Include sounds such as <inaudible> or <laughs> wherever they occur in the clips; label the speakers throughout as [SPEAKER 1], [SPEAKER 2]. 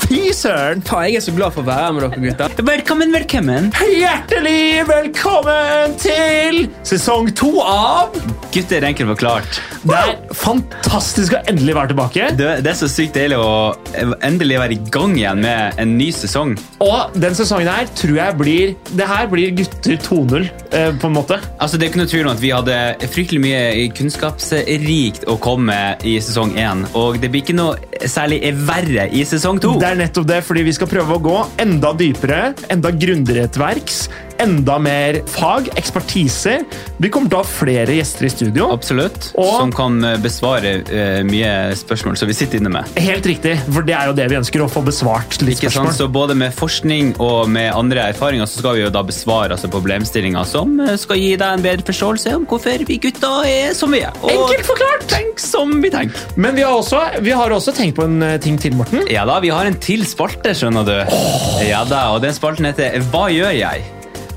[SPEAKER 1] Fy søren!
[SPEAKER 2] Faen, jeg er så glad for å være her med dere, gutter.
[SPEAKER 3] Velkommen, velkommen.
[SPEAKER 1] Hjertelig velkommen til sesong to av
[SPEAKER 3] Gutter, enkelt forklart.
[SPEAKER 1] Det er fantastisk å endelig være tilbake.
[SPEAKER 3] Det, det er så sykt deilig å endelig være i gang igjen med en ny sesong.
[SPEAKER 1] Og den sesongen her tror jeg blir Det her blir gutter 2.0, eh, på en måte.
[SPEAKER 3] Altså, det er ikke noe tvil om at Vi hadde fryktelig mye kunnskapsrikt å komme med i sesong én. Og det blir ikke noe særlig verre i sesong to.
[SPEAKER 1] Det er nettopp det, fordi vi skal prøve å gå enda dypere, enda grundigere til verks. Enda mer fag, ekspertise. Vi kommer til å ha flere gjester i studio.
[SPEAKER 3] Absolutt.
[SPEAKER 1] Og-
[SPEAKER 3] Som kan besvare eh, mye spørsmål som vi sitter inne med.
[SPEAKER 1] Helt riktig, for det er jo det vi ønsker å få besvart. litt
[SPEAKER 3] Ikke sant?
[SPEAKER 1] spørsmål.
[SPEAKER 3] Så både med forskning og med andre erfaringer så skal vi jo da besvare altså, problemstillinger som eh, skal gi deg en bedre forståelse om hvorfor vi gutter er som vi er. Og
[SPEAKER 1] Enkelt forklart!
[SPEAKER 3] tenk som vi tenker.
[SPEAKER 1] Men vi har, også, vi har også tenkt på en eh, ting til, Morten.
[SPEAKER 3] Ja da, vi har en til spalte, skjønner du. Ja da, og den spalten heter Hva gjør jeg?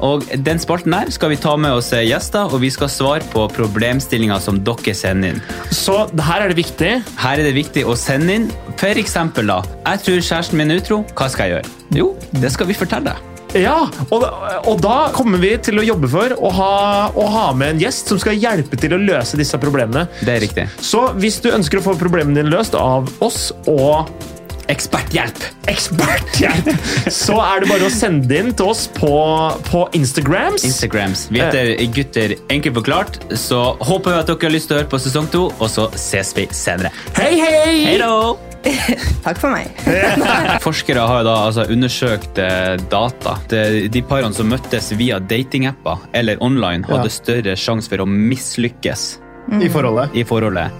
[SPEAKER 3] Og den spalten her skal vi ta med oss eh, gjester, og vi skal svare på problemstillinger som dere sender inn.
[SPEAKER 1] Så det her er det viktig.
[SPEAKER 3] Her er det viktig å sende inn for eksempel da Jeg tror kjæresten min er utro, hva skal jeg gjøre? Jo, det skal vi fortelle deg.
[SPEAKER 1] Ja, og, og da kommer vi til å jobbe for å ha, å ha med en gjest som skal hjelpe til å løse disse problemene.
[SPEAKER 3] Det er riktig.
[SPEAKER 1] Så hvis du ønsker å få problemene dine løst av oss og
[SPEAKER 3] Eksperthjelp!
[SPEAKER 1] <laughs> eksperthjelp, så er det bare å sende det inn til oss på, på Instagrams.
[SPEAKER 3] Instagrams. Vi heter Gutter enkelt forklart, så håper vi at dere har lyst til å høre på sesong to, og så ses vi senere.
[SPEAKER 1] Hei, hei!
[SPEAKER 3] Hei da!
[SPEAKER 4] Takk for meg.
[SPEAKER 3] Forskere har jo da altså undersøkt eh, data. De, de parene som møttes via datingapper eller online, hadde større sjanse for å mislykkes
[SPEAKER 5] i forholdet.
[SPEAKER 3] i forholdet.